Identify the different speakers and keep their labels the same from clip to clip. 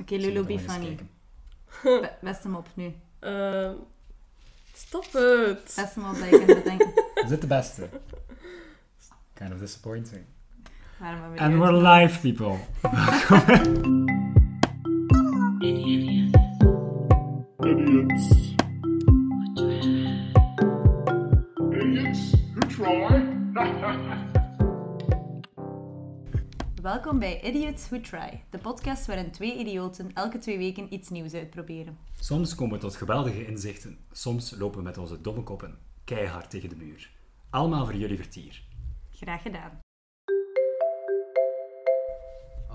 Speaker 1: Oké,
Speaker 2: Ik zal
Speaker 1: Lulu,
Speaker 2: er
Speaker 1: be
Speaker 2: maar eens
Speaker 1: funny.
Speaker 2: kijken.
Speaker 1: Be- Best hem op nu.
Speaker 3: Ehm, stop het.
Speaker 1: Best hem op dat je kunt bedenken.
Speaker 2: Is dit de beste? Kind of disappointing.
Speaker 1: Waarom hebben
Speaker 2: And
Speaker 1: die
Speaker 2: we're
Speaker 1: uitgenodigd?
Speaker 2: live, people.
Speaker 4: Idiots. Idiots who try.
Speaker 1: Welkom bij Idiots Who Try, de podcast waarin twee idioten elke twee weken iets nieuws uitproberen.
Speaker 2: Soms komen we tot geweldige inzichten. Soms lopen we met onze domme koppen keihard tegen de muur. Allemaal voor jullie vertier.
Speaker 1: Graag gedaan.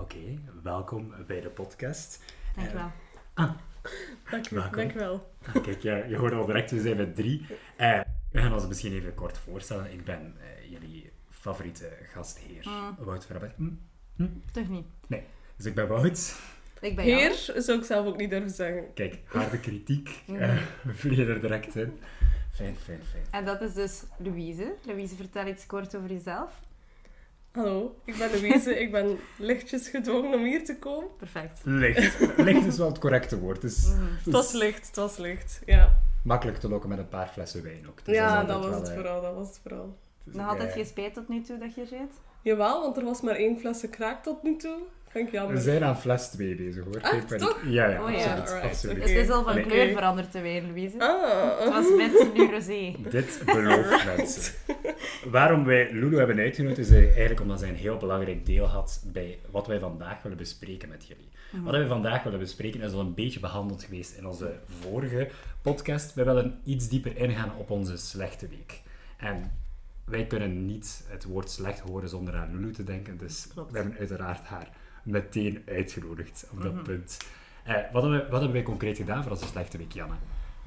Speaker 2: Oké, welkom bij de podcast.
Speaker 1: Dankjewel.
Speaker 3: Dank u,
Speaker 2: Welkom.
Speaker 3: dank u wel.
Speaker 2: Ah, kijk, ja, je hoort al direct, we zijn met drie. Eh, we gaan ons misschien even kort voorstellen. Ik ben eh, jullie favoriete gastheer, Wout van Aberten.
Speaker 1: Toch niet.
Speaker 2: Dus ik ben Wout.
Speaker 1: Ik ben
Speaker 3: Heer
Speaker 1: jou.
Speaker 3: zou ik zelf ook niet durven zeggen.
Speaker 2: Kijk, harde kritiek.
Speaker 3: Mhm.
Speaker 2: eh, we vliegen er direct in. Fijn, fijn, fijn.
Speaker 1: En dat is dus Louise. Louise, vertel iets kort over jezelf.
Speaker 3: Hallo, ik ben Louise. ik ben lichtjes gedwongen om hier te komen.
Speaker 1: Perfect.
Speaker 2: Licht. Licht is wel het correcte woord. Dus,
Speaker 3: Mhm. Het was licht, het was licht. Ja,
Speaker 2: makkelijk te lokken met een paar flessen wijn ook. Dus
Speaker 3: ja
Speaker 2: is
Speaker 3: dat
Speaker 2: altijd
Speaker 3: was
Speaker 2: wel,
Speaker 3: het
Speaker 2: eh,
Speaker 3: vooral, dat was het vooral.
Speaker 2: dus
Speaker 1: Nog
Speaker 2: ik,
Speaker 1: altijd
Speaker 2: eh,
Speaker 1: geen spijt tot nu toe dat je er zit?
Speaker 3: Jawel, want er was maar één flessen kraak tot nu toe. Vind ik jammer.
Speaker 2: We zijn aan fles 2 bezig hoor. Geen paniek.
Speaker 3: toch?
Speaker 2: Ja, ja,
Speaker 1: Oh, ja.
Speaker 2: absoluut.
Speaker 3: Alright,
Speaker 2: absoluut.
Speaker 3: oké.
Speaker 1: Het is al van
Speaker 2: Nee.
Speaker 1: kleur veranderd te wijn, Louise.
Speaker 3: Ah,
Speaker 1: Het was wit, nu rosé.
Speaker 2: Dit belooft mensen. Waarom wij Lulu hebben uitgenodigd is eh, eigenlijk omdat zij een heel belangrijk deel had bij wat wij vandaag willen bespreken met jullie. Wat wij vandaag willen bespreken is al een beetje behandeld geweest in onze vorige podcast. Wij willen iets dieper ingaan op onze slechte week. En wij kunnen niet het woord slecht horen zonder aan Lulu te denken, dus
Speaker 1: Klopt.
Speaker 2: we hebben uiteraard haar meteen uitgenodigd op dat punt. Eh, wat, hebben, we- wat hebben wij concreet gedaan voor onze slechte week, Janne?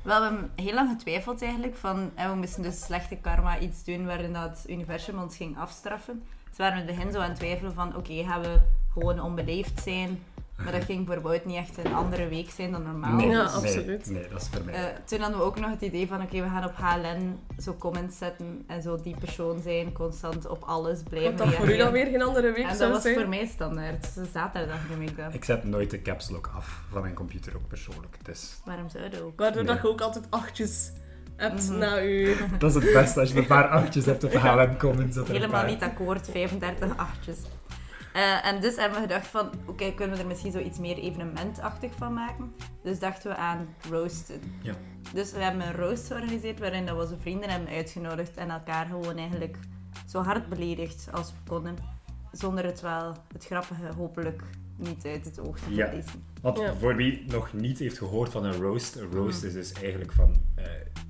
Speaker 1: Wel, we hebben heel lang getwijfeld eigenlijk van, hè, we moesten dus slechte karma iets doen waarin dat het universum ons ging afstraffen. Dus we waren in het begin zo aan het twijfelen van, oké, gaan we gewoon onbeleefd zijn? Maar dat ging voor Wout niet echt een andere week zijn dan normaal. Dus,
Speaker 3: Ja,
Speaker 2: nee,
Speaker 3: absoluut.
Speaker 2: Nee, dat is voor mij.
Speaker 1: Eh, toen hadden we ook nog het idee van, oké, we gaan op HLN zo comments zetten en zo die persoon zijn, constant op alles blijven
Speaker 3: Wat dat voor u dan
Speaker 1: reageren.
Speaker 3: weer geen andere week
Speaker 1: En dat
Speaker 3: zou
Speaker 1: was
Speaker 3: zijn.
Speaker 1: voor mij standaard. Dus zaterdag noem ik dat.
Speaker 2: Ik zet nooit de caps lock af van mijn computer ook persoonlijk. Dus
Speaker 1: Waarom zou dat ook? Mhm.
Speaker 3: Waardoor dat
Speaker 2: Nee.
Speaker 3: je ook altijd achtjes hebt na je...
Speaker 2: dat is het beste als je een paar oudjes hebt op HLM Commons. dat er een
Speaker 1: Helemaal
Speaker 2: paar-
Speaker 1: niet akkoord, 35 achtjes. Eh, en dus hebben we gedacht van, oké, kunnen we er misschien zoiets meer evenementachtig van maken? Dus dachten we aan roasten.
Speaker 2: Ja.
Speaker 1: Dus we hebben een roast georganiseerd waarin dat we onze vrienden hebben uitgenodigd en elkaar gewoon eigenlijk zo hard beledigd als we konden. Zonder het wel, het grappige, hopelijk niet uit het oog te
Speaker 2: Ja.
Speaker 1: verliezen.
Speaker 2: Want
Speaker 3: Ja.
Speaker 2: voor wie nog niet heeft gehoord van een roast, een roast
Speaker 1: Mm.
Speaker 2: is dus eigenlijk van. eh,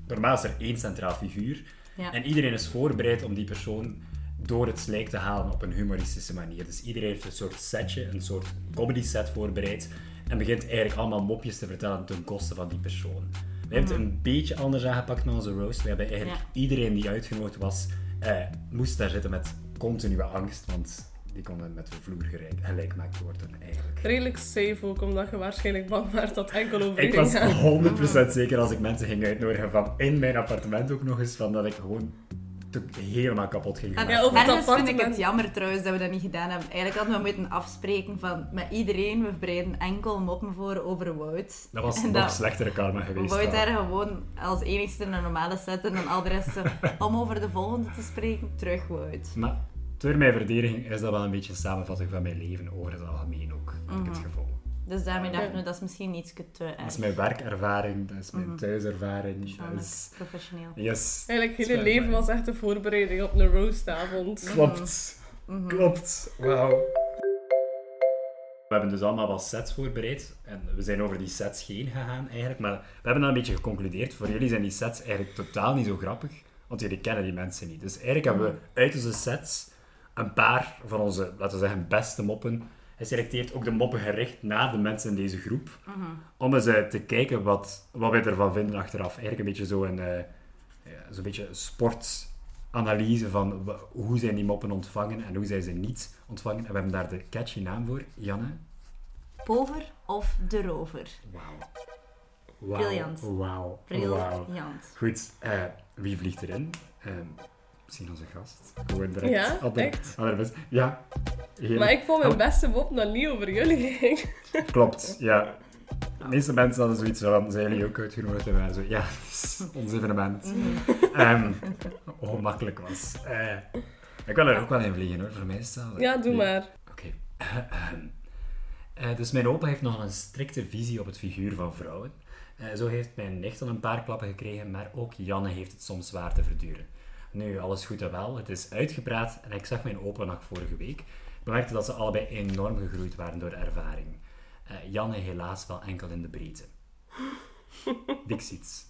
Speaker 2: normaal is er één centraal figuur.
Speaker 1: Ja.
Speaker 2: En iedereen is voorbereid om die persoon door het slijk te halen op een humoristische manier. Dus iedereen heeft een soort setje, een soort comedy set voorbereid. En begint eigenlijk allemaal mopjes te vertellen ten koste van die persoon. We hebben het een beetje anders aangepakt met onze roast. We hebben eigenlijk iedereen die uitgenodigd was, eh, moest daar zitten met continue angst. Want die konden met de vloer gelijk- gelijk gemaakt worden eigenlijk.
Speaker 3: Redelijk safe ook, omdat je waarschijnlijk bang werd dat enkel over
Speaker 2: Ik
Speaker 3: u ging
Speaker 2: was
Speaker 3: gaan.
Speaker 2: 100% zeker als ik mensen ging uitnodigen van in mijn appartement ook nog eens, van dat ik gewoon te- helemaal kapot ging
Speaker 1: En
Speaker 2: maken.
Speaker 3: Ja, over het
Speaker 1: ergens vind ik het
Speaker 3: appartement.
Speaker 1: jammer trouwens dat we dat niet gedaan hebben. Eigenlijk hadden we moeten afspreken van met iedereen, we bereiden enkel moppen voor over Wout.
Speaker 2: Dat was
Speaker 1: En
Speaker 2: nog
Speaker 1: dat-
Speaker 2: slechtere karma geweest.
Speaker 1: Wou je
Speaker 2: wel.
Speaker 1: daar gewoon als enigste een normale set en dan al de rest zo, om over de volgende te spreken, terug Wout.
Speaker 2: Maar door mijn verdediging is dat wel een beetje een samenvatting van mijn leven over het algemeen ook, heb ik het gevoel.
Speaker 1: Dus daarmee dachten we, dat is misschien iets te eh,
Speaker 2: Dat is
Speaker 1: erg.
Speaker 2: mijn werkervaring, dat is mijn thuiservaring. Dat
Speaker 1: Mhm. Persoonlijk,
Speaker 2: is...
Speaker 1: professioneel.
Speaker 2: Yes.
Speaker 3: Eigenlijk,
Speaker 2: Dat is
Speaker 3: hele
Speaker 2: mijn
Speaker 3: leven
Speaker 2: ervaring.
Speaker 3: was echt de voorbereiding op een roostavond.
Speaker 2: Klopt. Klopt. Wauw. We hebben dus allemaal wel sets voorbereid. En we zijn over die sets heen gegaan eigenlijk. Maar we hebben dan een beetje geconcludeerd. Voor jullie zijn die sets eigenlijk totaal niet zo grappig. Want jullie kennen die mensen niet. Dus eigenlijk hebben we uit onze sets een paar van onze, laten we zeggen, beste moppen geselecteerd. Ook de moppen gericht naar de mensen in deze groep. Om eens eh, te kijken wat, wat wij ervan vinden achteraf. Eigenlijk een beetje zo'n... eh, ja, zo'n beetje sportanalyse van w- hoe zijn die moppen ontvangen en hoe zijn ze niet ontvangen. En we hebben daar de catchy naam voor, Janne.
Speaker 1: Pover of de rover?
Speaker 2: Wauw. Wauw.
Speaker 1: Briljant.
Speaker 2: Wauw. Wauw.
Speaker 1: Briljant.
Speaker 2: Goed, eh, wie vliegt erin? Ehm, Misschien onze gast. Gewoon direct.
Speaker 3: Ja,
Speaker 2: Ander-
Speaker 3: echt?
Speaker 2: Allerbest. Ja. Heel-
Speaker 3: Maar ik vond mijn beste mop dat niet over jullie ging.
Speaker 2: Klopt, ja.
Speaker 3: Oh.
Speaker 2: De meeste mensen hadden zoiets van, zijn jullie ook uitgenodigd? En wij zo, ja, het is ons evenement.
Speaker 3: Mhm.
Speaker 2: Ehm ongemakkelijk was. Eh, ik wil er ook wel in vliegen hoor, voor mij is dat...
Speaker 3: Ja, doe
Speaker 2: Nee.
Speaker 3: maar.
Speaker 2: Oké. Eh, dus mijn opa heeft nogal een strikte visie op het figuur van vrouwen. Eh, zo heeft mijn nicht al een paar klappen gekregen, maar ook Janne heeft het soms zwaar te verduren. Nu, alles goed en wel, het is uitgepraat en ik zag mijn opa nog vorige week. Ik merkte dat ze allebei enorm gegroeid waren door de ervaring. Eh, Janne helaas wel enkel in de breedte. Dixiets.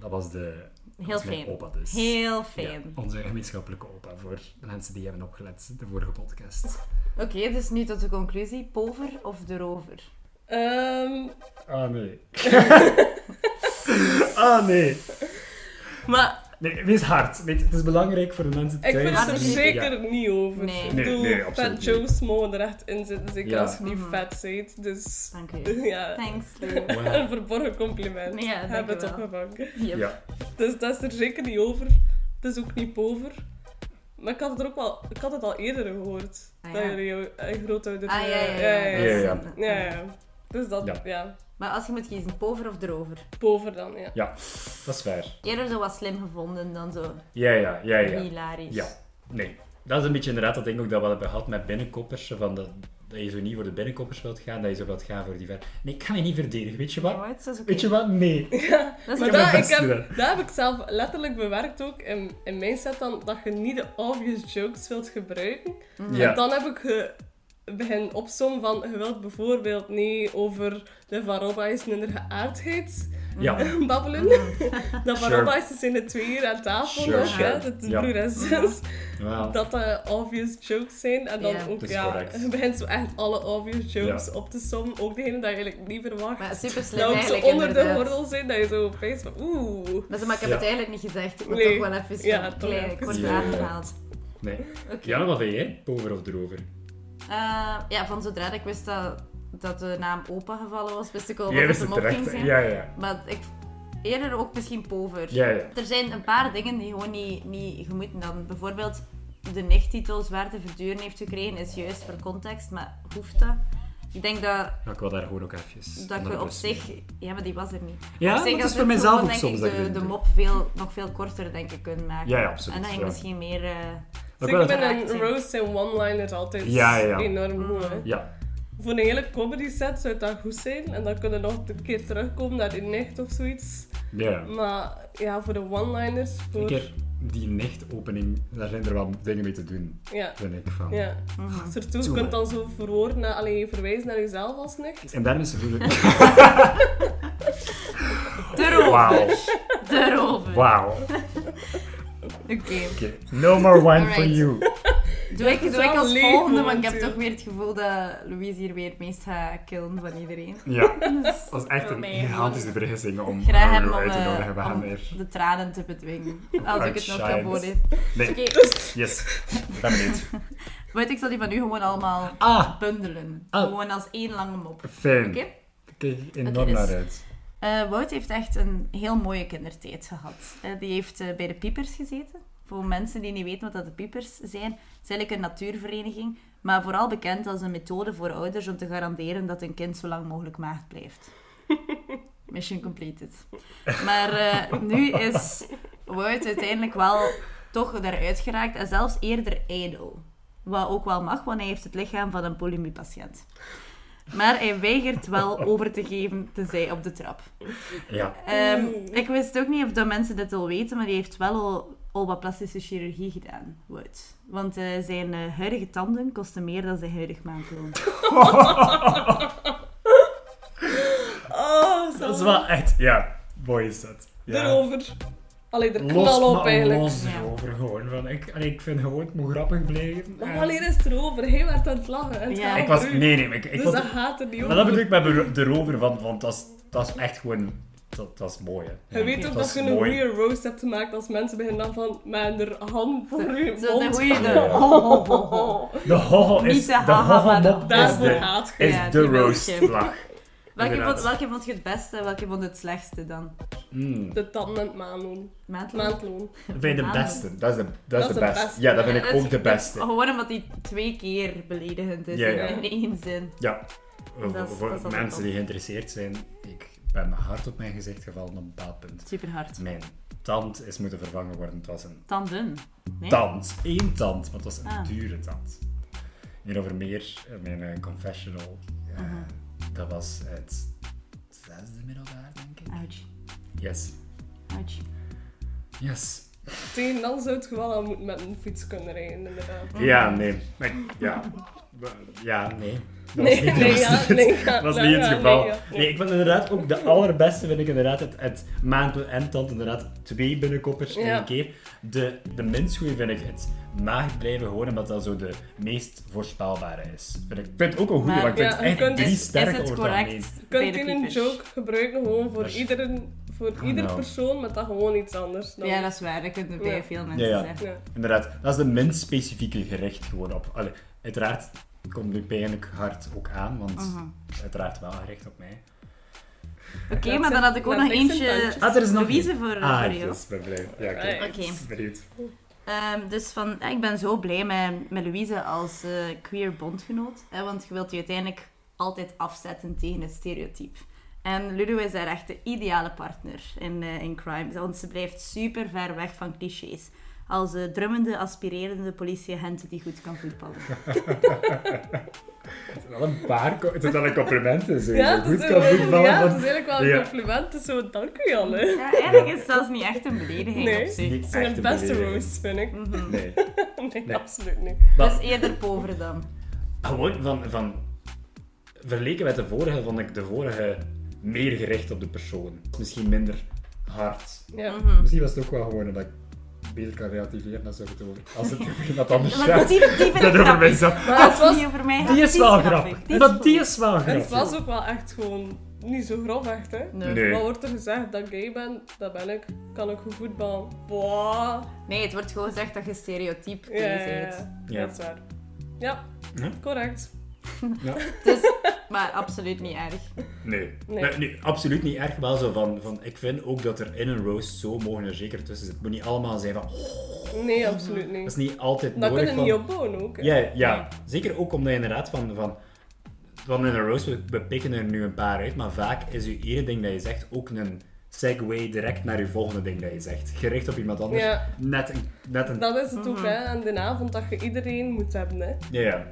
Speaker 2: Dat was de... dat
Speaker 1: Heel
Speaker 2: was mijn
Speaker 1: fijn.
Speaker 2: opa dus.
Speaker 1: Heel
Speaker 2: Ja,
Speaker 1: fijn.
Speaker 2: onze gemeenschappelijke opa, voor de mensen die hebben opgelet de vorige podcast.
Speaker 1: Oké, dus nu tot de conclusie. Pover of de rover?
Speaker 3: Ehm,
Speaker 2: Ah, nee. ah, nee.
Speaker 3: maar
Speaker 2: Nee, wees hard. Weet, het is belangrijk voor de mensen
Speaker 3: ik
Speaker 2: thuis.
Speaker 3: vind het er
Speaker 1: Absoluut.
Speaker 3: zeker niet over.
Speaker 1: Ah, Nee.
Speaker 3: Ik
Speaker 2: Nee,
Speaker 3: bedoel,
Speaker 2: nee, absoluut
Speaker 3: fat
Speaker 2: niet.
Speaker 3: Joe's mogen er echt in zitten, zeker
Speaker 2: Ja.
Speaker 3: als je niet
Speaker 1: Mhm.
Speaker 3: vet bent. Dus
Speaker 1: Dank u.
Speaker 3: ja,
Speaker 1: Thanks, Lou.
Speaker 2: Wauw.
Speaker 3: een verborgen compliment.
Speaker 1: Ja,
Speaker 3: Heb het
Speaker 1: dankjewel.
Speaker 3: opgevangen.
Speaker 1: Yep.
Speaker 2: Ja.
Speaker 3: Dus dat is er zeker niet over. Het is ook niet pover. Maar ik had het, er ook wel, ik had het al eerder gehoord.
Speaker 1: Ah,
Speaker 3: Dat
Speaker 1: ja.
Speaker 3: jullie jou- eh, grootouders...
Speaker 1: Ah, ja, ja, ja.
Speaker 3: ja, ja.
Speaker 2: Ja, ja.
Speaker 1: dat is-
Speaker 3: Ja, ja. Dus dat,
Speaker 2: Ja.
Speaker 3: ja.
Speaker 1: Maar als je moet kiezen, pover of de rover?
Speaker 3: Pover dan, ja.
Speaker 2: ja, dat is waar.
Speaker 1: Eerder zo wat slim gevonden dan zo
Speaker 2: Ja, ja, ja, ja.
Speaker 1: hilarisch.
Speaker 2: Ja, nee. Dat is een beetje inderdaad dat denk ik ook dat we hebben gehad met binnenkoppers. zo Van dat, dat je zo niet voor de binnenkoppers wilt gaan, dat je zo wilt gaan voor die ver... Nee, ik ga je niet verdedigen, weet je wat?
Speaker 1: Alright, dat is oké.
Speaker 2: Weet je wat? Nee.
Speaker 1: Dat is
Speaker 3: Maar
Speaker 2: heb mijn
Speaker 3: dat, ik
Speaker 2: best
Speaker 3: heb,
Speaker 2: gedaan.
Speaker 3: dat heb ik zelf letterlijk bewerkt ook in, in mijn set dan, dat je niet de obvious jokes wilt gebruiken.
Speaker 1: Mm.
Speaker 3: En
Speaker 2: Ja.
Speaker 3: dan heb ik ge, begin opzommen van, je wilt bijvoorbeeld niet over de Varobais minder geaardheid
Speaker 2: Ja.
Speaker 1: Mm.
Speaker 3: babbelen.
Speaker 2: Sure.
Speaker 3: dat Varobais is in de tweeën aan tafel,
Speaker 2: Sure,
Speaker 3: nog,
Speaker 1: sure.
Speaker 3: hè, dat is
Speaker 2: Ja.
Speaker 3: broer en zus.
Speaker 2: Wel,
Speaker 3: dat dat obvious jokes zijn. En dan
Speaker 1: Ja.
Speaker 3: ook,
Speaker 2: Dat is
Speaker 3: ja,
Speaker 2: correct.
Speaker 3: je begint zo echt alle obvious jokes
Speaker 2: Ja.
Speaker 3: op te sommen. Ook degene dat je eigenlijk niet verwacht.
Speaker 1: Maar super slim
Speaker 3: dat ook zo
Speaker 1: eigenlijk,
Speaker 3: onder de
Speaker 1: inderdaad.
Speaker 3: gordel zijn, dat je zo opeens van oeh.
Speaker 1: Maar, zo, maar ik heb
Speaker 2: Ja.
Speaker 1: het eigenlijk niet gezegd. Ik moet
Speaker 3: Nee.
Speaker 1: toch wel even
Speaker 3: Ja,
Speaker 1: ja,
Speaker 3: toch
Speaker 1: klein,
Speaker 3: even.
Speaker 1: kort
Speaker 2: Ja, ja, ja.
Speaker 1: aangehaald.
Speaker 2: nee.
Speaker 1: Oké.
Speaker 2: Janne, wat vind jij? Pover of erover?
Speaker 1: Eh, ja, van zodra ik wist dat, dat de naam opa gevallen was, wist ik al
Speaker 2: Jij
Speaker 1: wat
Speaker 2: wist
Speaker 1: het
Speaker 2: het
Speaker 1: mop ging
Speaker 2: terecht. hè?
Speaker 1: zijn.
Speaker 2: Ja, ja.
Speaker 1: Maar ik, eerder ook misschien pover.
Speaker 2: Ja, ja.
Speaker 1: Er zijn een paar dingen die gewoon niet, niet gemoeten dan. Bijvoorbeeld de nichttitel zwaar te verduren heeft gekregen, is juist voor context, maar hoeft dat? Ik denk dat,
Speaker 2: Nou, ik wil daar gewoon ook even...
Speaker 1: dat we op
Speaker 2: onderbus mee.
Speaker 1: zich... Ja, maar die was er niet.
Speaker 2: Ja,
Speaker 1: op zich
Speaker 2: dat is
Speaker 1: als
Speaker 2: voor
Speaker 1: het
Speaker 2: mijzelf
Speaker 1: gewoon,
Speaker 2: ook
Speaker 1: denk
Speaker 2: soms
Speaker 1: ik
Speaker 2: dat ik
Speaker 1: de,
Speaker 2: dat
Speaker 1: de
Speaker 2: doe.
Speaker 1: mop veel, nog veel korter denk ik kunnen maken.
Speaker 2: Ja, ja, absoluut,
Speaker 1: En dan
Speaker 2: ja.
Speaker 1: je misschien meer... eh,
Speaker 2: Ook
Speaker 3: Zeker
Speaker 2: wel-
Speaker 3: met
Speaker 1: interactie.
Speaker 3: een roast en one-liner altijd
Speaker 2: Ja, ja, ja.
Speaker 3: enorm goed. hè.
Speaker 2: Ja,
Speaker 3: Voor een hele comedy set zou dat goed zijn. En dan kunnen we nog een keer terugkomen naar die nicht of zoiets.
Speaker 2: ja. ja.
Speaker 3: Maar ja, voor de one-liners.
Speaker 2: Een
Speaker 3: Voor...
Speaker 2: keer die nicht-opening, daar zijn er wel dingen mee te doen,
Speaker 3: Ja.
Speaker 2: vind ik. Van.
Speaker 3: Ja. Surtout, je
Speaker 2: Toe,
Speaker 3: kunt
Speaker 2: hè.
Speaker 3: dan zo verwoorden, naar- alleen verwijzen naar jezelf als nicht.
Speaker 2: En daarom is het goed.
Speaker 1: De rover.
Speaker 2: Wauw.
Speaker 1: De rover.
Speaker 2: Wauw.
Speaker 1: Oké.
Speaker 2: Oké, No more wine for
Speaker 1: Alright.
Speaker 2: you.
Speaker 1: Doe ik,
Speaker 3: het is
Speaker 1: doe ik
Speaker 3: wel
Speaker 1: als
Speaker 3: leeg
Speaker 1: volgende, want ik heb
Speaker 3: momenteel.
Speaker 1: toch weer het gevoel dat Louise hier weer het meest gaat killen van iedereen.
Speaker 2: Ja,
Speaker 1: Dus
Speaker 2: dat was echt
Speaker 1: voor
Speaker 2: een
Speaker 1: mij
Speaker 2: gigantische vergissing om
Speaker 1: Graag
Speaker 2: om
Speaker 1: hebben
Speaker 2: jou
Speaker 1: om,
Speaker 2: uit te
Speaker 1: eh,
Speaker 2: nodigen. We gaan
Speaker 1: om
Speaker 2: weer.
Speaker 1: de tranen te bedwingen. Als ik het nog kan
Speaker 2: Outshines.
Speaker 1: worden.
Speaker 2: Nee,
Speaker 1: Oké,
Speaker 2: yes. Ben benieuwd.
Speaker 1: weet ik zal die van u gewoon allemaal
Speaker 2: Ah,
Speaker 1: bundelen.
Speaker 2: Oh.
Speaker 1: Gewoon als één lange mop.
Speaker 2: fijn.
Speaker 1: Oké?
Speaker 2: Ik kijk er
Speaker 1: Oké,
Speaker 2: enorm
Speaker 1: dus-
Speaker 2: naar uit.
Speaker 1: Eh, Wout heeft echt een heel mooie kindertijd gehad. Eh, die heeft eh, bij de Piepers gezeten. Voor mensen die niet weten wat dat de Piepers zijn, het is eigenlijk een natuurvereniging, maar vooral bekend als een methode voor ouders om te garanderen dat een kind zo lang mogelijk maagd blijft. Mission completed. Maar eh, nu is Wout uiteindelijk wel toch daaruit geraakt en zelfs eerder ijdel. Wat ook wel mag, want hij heeft het lichaam van een polymypatiënt. Maar hij weigert wel over te geven, tenzij op de trap.
Speaker 2: Ja.
Speaker 1: Ehm,
Speaker 3: Oeh.
Speaker 1: ik wist ook niet of dat mensen dit al weten, maar die heeft wel al, al wat plastische chirurgie gedaan. Wout. Want eh, zijn eh, huidige tanden kosten meer dan zijn huidig maandloon.
Speaker 3: Oh,
Speaker 2: Dat is wel echt, ja. Mooi is dat. Ja.
Speaker 3: Erover. Allee, er
Speaker 2: Los,
Speaker 3: knal op
Speaker 2: maar
Speaker 3: eigenlijk.
Speaker 2: los
Speaker 1: Ja.
Speaker 2: erover gewoon. Van, ik, allee, ik vind gewoon, het moet grappig blijven.
Speaker 3: Maar
Speaker 2: En-
Speaker 3: wanneer is het erover? Hij werd aan het lachen. En het
Speaker 1: Ja.
Speaker 3: gaat
Speaker 2: Ik was,
Speaker 3: over u.
Speaker 2: nee, nee, maar ik, ik
Speaker 3: dus
Speaker 2: vond-
Speaker 3: dat gaat er niet
Speaker 2: Maar dat
Speaker 3: over.
Speaker 2: bedoel ik met bero- de rover, van, want dat is, dat is echt gewoon... Dat, dat is mooi, hè.
Speaker 3: Je weet ook
Speaker 2: Dat
Speaker 3: dat
Speaker 2: is
Speaker 3: je een
Speaker 2: mooi.
Speaker 3: goede roast hebt gemaakt als mensen beginnen dan van met hun hand voor je
Speaker 1: Zo, de
Speaker 3: mond. Oh.
Speaker 1: goeie Oh. de...
Speaker 2: Ja.
Speaker 1: Ho, ho, ho, ho.
Speaker 2: De hoho is...
Speaker 1: Niet de
Speaker 2: de
Speaker 1: haha,
Speaker 2: hoho
Speaker 1: maar de-
Speaker 2: mop is
Speaker 3: Daarvoor
Speaker 2: de,
Speaker 3: haat je.
Speaker 2: is
Speaker 1: Ja,
Speaker 2: de
Speaker 1: die wil
Speaker 2: roast
Speaker 1: je.
Speaker 2: vlag.
Speaker 1: Welke
Speaker 2: Inderdaad.
Speaker 1: vond, welke vond je het beste en welke vond je het slechtste dan?
Speaker 2: Mm.
Speaker 3: De tanden en het maanloon.
Speaker 1: Maandloon?
Speaker 3: Maandloon.
Speaker 2: Vind je de beste? Dat is de, dat is de
Speaker 3: de
Speaker 2: beste.
Speaker 3: beste.
Speaker 2: Ja, dat
Speaker 1: Ja,
Speaker 2: vind ik
Speaker 1: dat
Speaker 2: ook
Speaker 1: is-
Speaker 2: de beste.
Speaker 1: Gewoon omdat die twee keer beledigend is
Speaker 2: Ja,
Speaker 1: in-
Speaker 2: ja.
Speaker 1: in één zin.
Speaker 2: Ja.
Speaker 1: Dat is-
Speaker 2: voor
Speaker 1: dat is altijd
Speaker 2: mensen
Speaker 1: top.
Speaker 2: die geïnteresseerd zijn, ik ben hard op mijn gezicht gevallen op een bepaald punt.
Speaker 1: Super hard.
Speaker 2: Mijn tand is moeten vervangen worden. Het was een
Speaker 1: Tanden. Nee?
Speaker 2: tand. Eén tand, maar het was een
Speaker 1: Ah.
Speaker 2: dure tand. Hierover meer, eh, mijn eh, confessional. eh, Dat was het zesde middelbaar, denk ik.
Speaker 1: Ouch.
Speaker 2: Yes.
Speaker 1: Ouch.
Speaker 2: Yes.
Speaker 3: Tegen dan zou het gewoon al moeten met een fiets kunnen rijden, inderdaad.
Speaker 2: Ja, nee. Ik- ja. Ja, nee. Dat was
Speaker 3: Nee,
Speaker 2: niet-
Speaker 3: nee,
Speaker 2: dat was
Speaker 3: ja,
Speaker 2: niet het-
Speaker 3: nee, ja,
Speaker 2: dat was
Speaker 3: nou,
Speaker 2: niet het
Speaker 3: ja,
Speaker 2: geval.
Speaker 3: nee,
Speaker 2: Nee,
Speaker 3: ja, nee.
Speaker 2: ik vind inderdaad ook de allerbeste, vind ik inderdaad het, het maandloon en tand. Inderdaad, twee binnenkoppers in
Speaker 3: Ja.
Speaker 2: één keer. De, de minst goeie vind ik het maag blijven gewoon, omdat dat zo de meest voorspelbare is. Vind ik, ik vind het ook een goede,
Speaker 1: Maar-
Speaker 2: maar ik vind
Speaker 3: Ja,
Speaker 2: het
Speaker 3: je
Speaker 2: echt
Speaker 3: kunt-
Speaker 2: drie
Speaker 1: Is, is
Speaker 2: sterke
Speaker 1: het
Speaker 2: over het algemeen.
Speaker 1: correct?
Speaker 3: Je
Speaker 1: bij de
Speaker 3: kunt een
Speaker 1: keepers?
Speaker 3: joke gebruiken gewoon voor,
Speaker 2: Dat is-
Speaker 3: iedereen, voor
Speaker 2: Ah,
Speaker 3: ieder
Speaker 2: nou.
Speaker 3: persoon, maar dan gewoon iets anders. Dan...
Speaker 1: Ja, dat is waar. Dat kunnen bij
Speaker 3: Ja.
Speaker 1: veel mensen
Speaker 2: Ja, ja.
Speaker 1: zeggen.
Speaker 3: Ja.
Speaker 2: Inderdaad, dat is de minst specifieke gerecht gewoon op. Allee, uiteraard komt Luc eigenlijk hard ook aan, want
Speaker 1: Mhm.
Speaker 2: uiteraard wel gericht op mij.
Speaker 1: Oké,
Speaker 3: Dat
Speaker 1: maar dan
Speaker 3: zijn-
Speaker 1: had ik ook
Speaker 3: dat
Speaker 1: nog
Speaker 3: zijn
Speaker 1: eentje.
Speaker 3: tandjes.
Speaker 2: Ah, er is nog
Speaker 1: Louise
Speaker 2: één.
Speaker 1: voor,
Speaker 2: Ah,
Speaker 1: voor jou.
Speaker 2: yes, ben blij. Ja, oké.
Speaker 3: Alright.
Speaker 1: Oké.
Speaker 2: Benieuwd.
Speaker 1: Ehm, dus van, ja, ik ben zo blij met, met Louise als eh, queer bondgenoot. Hè, want je wilt je uiteindelijk altijd afzetten tegen het stereotype. En Lulu is daar echt de ideale partner in, eh, in crime. Want ze blijft super ver weg van clichés. Als eh, drummende, aspirerende politieagent die goed kan voetballen.
Speaker 2: Het is wel een paar co- het is wel een compliment. Dus je
Speaker 3: Ja,
Speaker 2: goed
Speaker 3: het is,
Speaker 2: kan
Speaker 3: wel-
Speaker 2: voetballen.
Speaker 3: ja, het is
Speaker 2: want-
Speaker 3: eigenlijk wel een
Speaker 2: Ja.
Speaker 3: compliment, dus zo, dank u al. hè.
Speaker 1: Ja, eigenlijk is het zelfs niet echt een belediging
Speaker 3: Nee.
Speaker 1: op zich.
Speaker 2: Niet
Speaker 3: Het zijn
Speaker 2: echt
Speaker 3: de
Speaker 2: een
Speaker 3: beste
Speaker 2: belediging.
Speaker 3: roast, vind ik.
Speaker 1: Mm.
Speaker 2: Nee.
Speaker 3: Nee,
Speaker 2: Nee.
Speaker 3: absoluut niet.
Speaker 2: Maar
Speaker 1: Dus eerder pover dan.
Speaker 2: gewoon Ah, van, van... Verleken met de vorige, vond ik de vorige meer gericht op de persoon. Misschien minder hard.
Speaker 3: Ja.
Speaker 1: Mhm.
Speaker 2: Misschien was het ook wel gewoon omdat ik beter kan relativeren dan zo het over. Als het over iemand anders
Speaker 1: Maar
Speaker 2: gaat.
Speaker 1: die, die vind ik
Speaker 2: Dat over
Speaker 1: grappig.
Speaker 2: mijzelf.
Speaker 3: Maar het
Speaker 1: Als het
Speaker 3: was,
Speaker 1: niet over mij gaat,
Speaker 2: Die is wel
Speaker 1: grappig.
Speaker 2: grappig. Dat die
Speaker 1: goed.
Speaker 2: is wel
Speaker 3: het was
Speaker 2: grappig.
Speaker 3: ook wel echt gewoon niet zo grof, echt hè.
Speaker 1: Nee.
Speaker 2: Nee.
Speaker 3: Wat wordt er gezegd dat ik gay ben? Dat ben ik. Kan ik goed voetballen? Wow.
Speaker 1: Nee, het wordt gewoon gezegd dat je stereotyp
Speaker 3: Ja, ja, ja.
Speaker 1: bent.
Speaker 2: Ja.
Speaker 3: dat is waar. Ja,
Speaker 2: Ja.
Speaker 3: correct.
Speaker 1: Dus, maar absoluut niet erg.
Speaker 2: Nee.
Speaker 3: Nee.
Speaker 2: Maar nee, absoluut niet erg. Wel zo van, van, ik vind ook dat er in een roast zo mogen er zeker tussen zitten. Het moet niet allemaal zijn van, oh,
Speaker 3: Nee, absoluut
Speaker 2: dat is
Speaker 3: niet.
Speaker 2: niet altijd
Speaker 3: Dat
Speaker 2: nodig.
Speaker 3: kun je
Speaker 2: van-
Speaker 3: niet opbouwen ook. hè.
Speaker 2: Ja, ja. zeker ook omdat je inderdaad van, van, van in een roast, we, we pikken er nu een paar uit, maar vaak is je ene ding dat je zegt ook een segue direct naar je volgende ding dat je zegt. Gericht op iemand anders.
Speaker 3: Ja.
Speaker 2: Net een... Net een
Speaker 3: Dat is het ook, hè. En de avond dat je iedereen moet hebben, hè.
Speaker 2: ja, ja.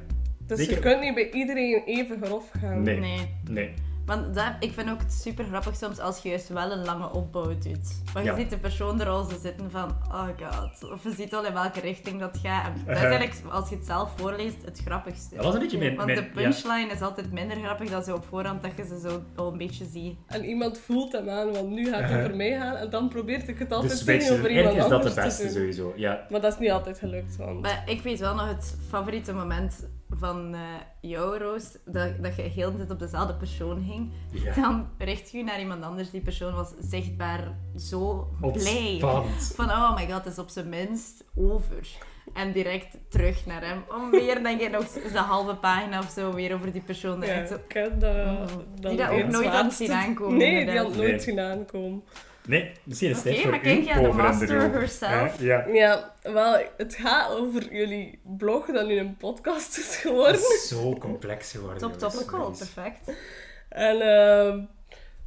Speaker 3: Dus
Speaker 2: Zeker.
Speaker 3: je kunt niet bij iedereen even grof gaan.
Speaker 2: Nee.
Speaker 1: Nee.
Speaker 2: Nee.
Speaker 1: Want dat, ik vind ook het super grappig soms als je juist wel een lange opbouw doet. Want je
Speaker 2: Ja.
Speaker 1: ziet de persoon er al zo zitten van, oh god. Of je ziet al in welke richting dat gaat. En dat is
Speaker 2: Uh-huh.
Speaker 1: eigenlijk, als je het zelf voorleest, het grappigste.
Speaker 2: Dat was een beetje mijn...
Speaker 1: Want
Speaker 2: mijn-
Speaker 1: de
Speaker 2: ja.
Speaker 1: punchline is altijd minder grappig dan ze op voorhand dat je ze zo al een beetje ziet.
Speaker 3: En iemand voelt hem aan, want nu gaat hij voor mij gaan. En dan probeert ik het
Speaker 2: De
Speaker 3: altijd
Speaker 2: switch.
Speaker 3: tegenover
Speaker 2: Dus Eigenlijk
Speaker 3: iemand
Speaker 2: is dat
Speaker 3: anders
Speaker 2: de
Speaker 3: te
Speaker 2: beste
Speaker 3: doen.
Speaker 2: sowieso. Ja.
Speaker 3: Maar dat is niet altijd gelukt, want...
Speaker 1: Maar ik weet wel nog het favoriete moment van eh, jouw roast, dat, dat je heel de tijd op dezelfde persoon hing.
Speaker 2: Ja.
Speaker 1: Dan richt je je naar iemand anders, die persoon was zichtbaar zo blij.
Speaker 2: Ontspannend.
Speaker 1: Van, oh my god, het is op zijn minst over. En direct terug naar hem. Oh, Om weer, denk ik, nog eens de halve pagina of zo weer over die persoon.
Speaker 3: Ja,
Speaker 1: eruit te-
Speaker 3: ik ken dat.
Speaker 1: oh, Die dat ook
Speaker 3: weer het
Speaker 1: nooit had
Speaker 3: zwaarste.
Speaker 1: zien aankomen,
Speaker 3: Nee, die
Speaker 1: inderdaad.
Speaker 3: had nooit
Speaker 2: Nee.
Speaker 3: zien aankomen.
Speaker 2: Nee, misschien is het
Speaker 1: Oké,
Speaker 2: tijd voor
Speaker 1: maar kijk,
Speaker 2: u
Speaker 1: ja, de
Speaker 2: over en
Speaker 1: master
Speaker 2: erover.
Speaker 1: herself.
Speaker 2: Hè? Ja.
Speaker 3: Ja, wel, het gaat over jullie blog dat nu een podcast is
Speaker 2: Het
Speaker 3: geworden.
Speaker 2: is zo complex geworden.
Speaker 1: Top
Speaker 2: jongens.
Speaker 1: topical,
Speaker 2: Sorry.
Speaker 1: perfect.
Speaker 3: En ehm,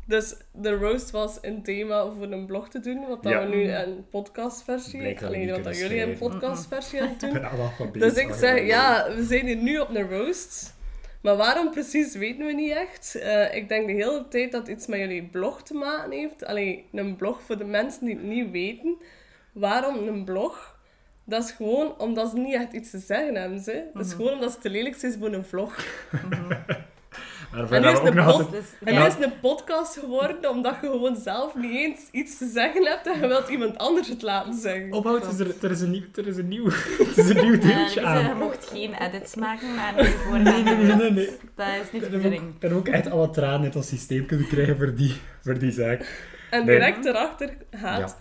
Speaker 3: dus de roast was een thema voor een blog te doen, wat dan
Speaker 2: Ja.
Speaker 3: we nu een podcastversie.
Speaker 2: Blijkt dat we
Speaker 3: Alleen
Speaker 2: niet
Speaker 3: wat dat
Speaker 2: kunnen
Speaker 3: jullie een
Speaker 2: schrijven.
Speaker 3: podcastversie aan het doen.
Speaker 2: Ik ben analfabeet,
Speaker 3: Dus ik
Speaker 2: sorry.
Speaker 3: zeg, ja, we zijn hier nu op een roast. Maar waarom precies weten we niet echt. Eh, ik denk de hele tijd dat het iets met jullie blog te maken heeft. Allee, een blog voor de mensen die het niet weten. Waarom een blog? Dat is gewoon omdat ze niet echt iets te zeggen hebben. Ze. Dat is gewoon omdat ze te lelijk zijn voor een vlog.
Speaker 2: Maar
Speaker 3: En
Speaker 2: voor
Speaker 3: nu
Speaker 2: dat
Speaker 3: is
Speaker 2: we ook
Speaker 3: de
Speaker 2: nog
Speaker 3: bot.
Speaker 2: altijd-
Speaker 1: Mhm. Dus,
Speaker 3: En
Speaker 1: ja.
Speaker 3: dat is een podcast geworden omdat je gewoon zelf niet eens iets te zeggen hebt en je wilt iemand anders het laten zeggen.
Speaker 2: Ophoud, is er, er is een nieuw, er is een nieuw, er is een nieuw
Speaker 1: Eh,
Speaker 2: deeltje
Speaker 1: Lisa, je
Speaker 2: aan.
Speaker 1: mocht geen edits maken, maar nu voor
Speaker 2: Nee, nee, nee, nee, nee. Ik
Speaker 1: Dat is niet de
Speaker 2: heb ook-
Speaker 1: bedoeling.
Speaker 2: Ik heb ook echt alle tranen uit ons systeem kunnen krijgen voor die, voor die zaak.
Speaker 3: En
Speaker 2: Nee.
Speaker 3: direct erachter gaat.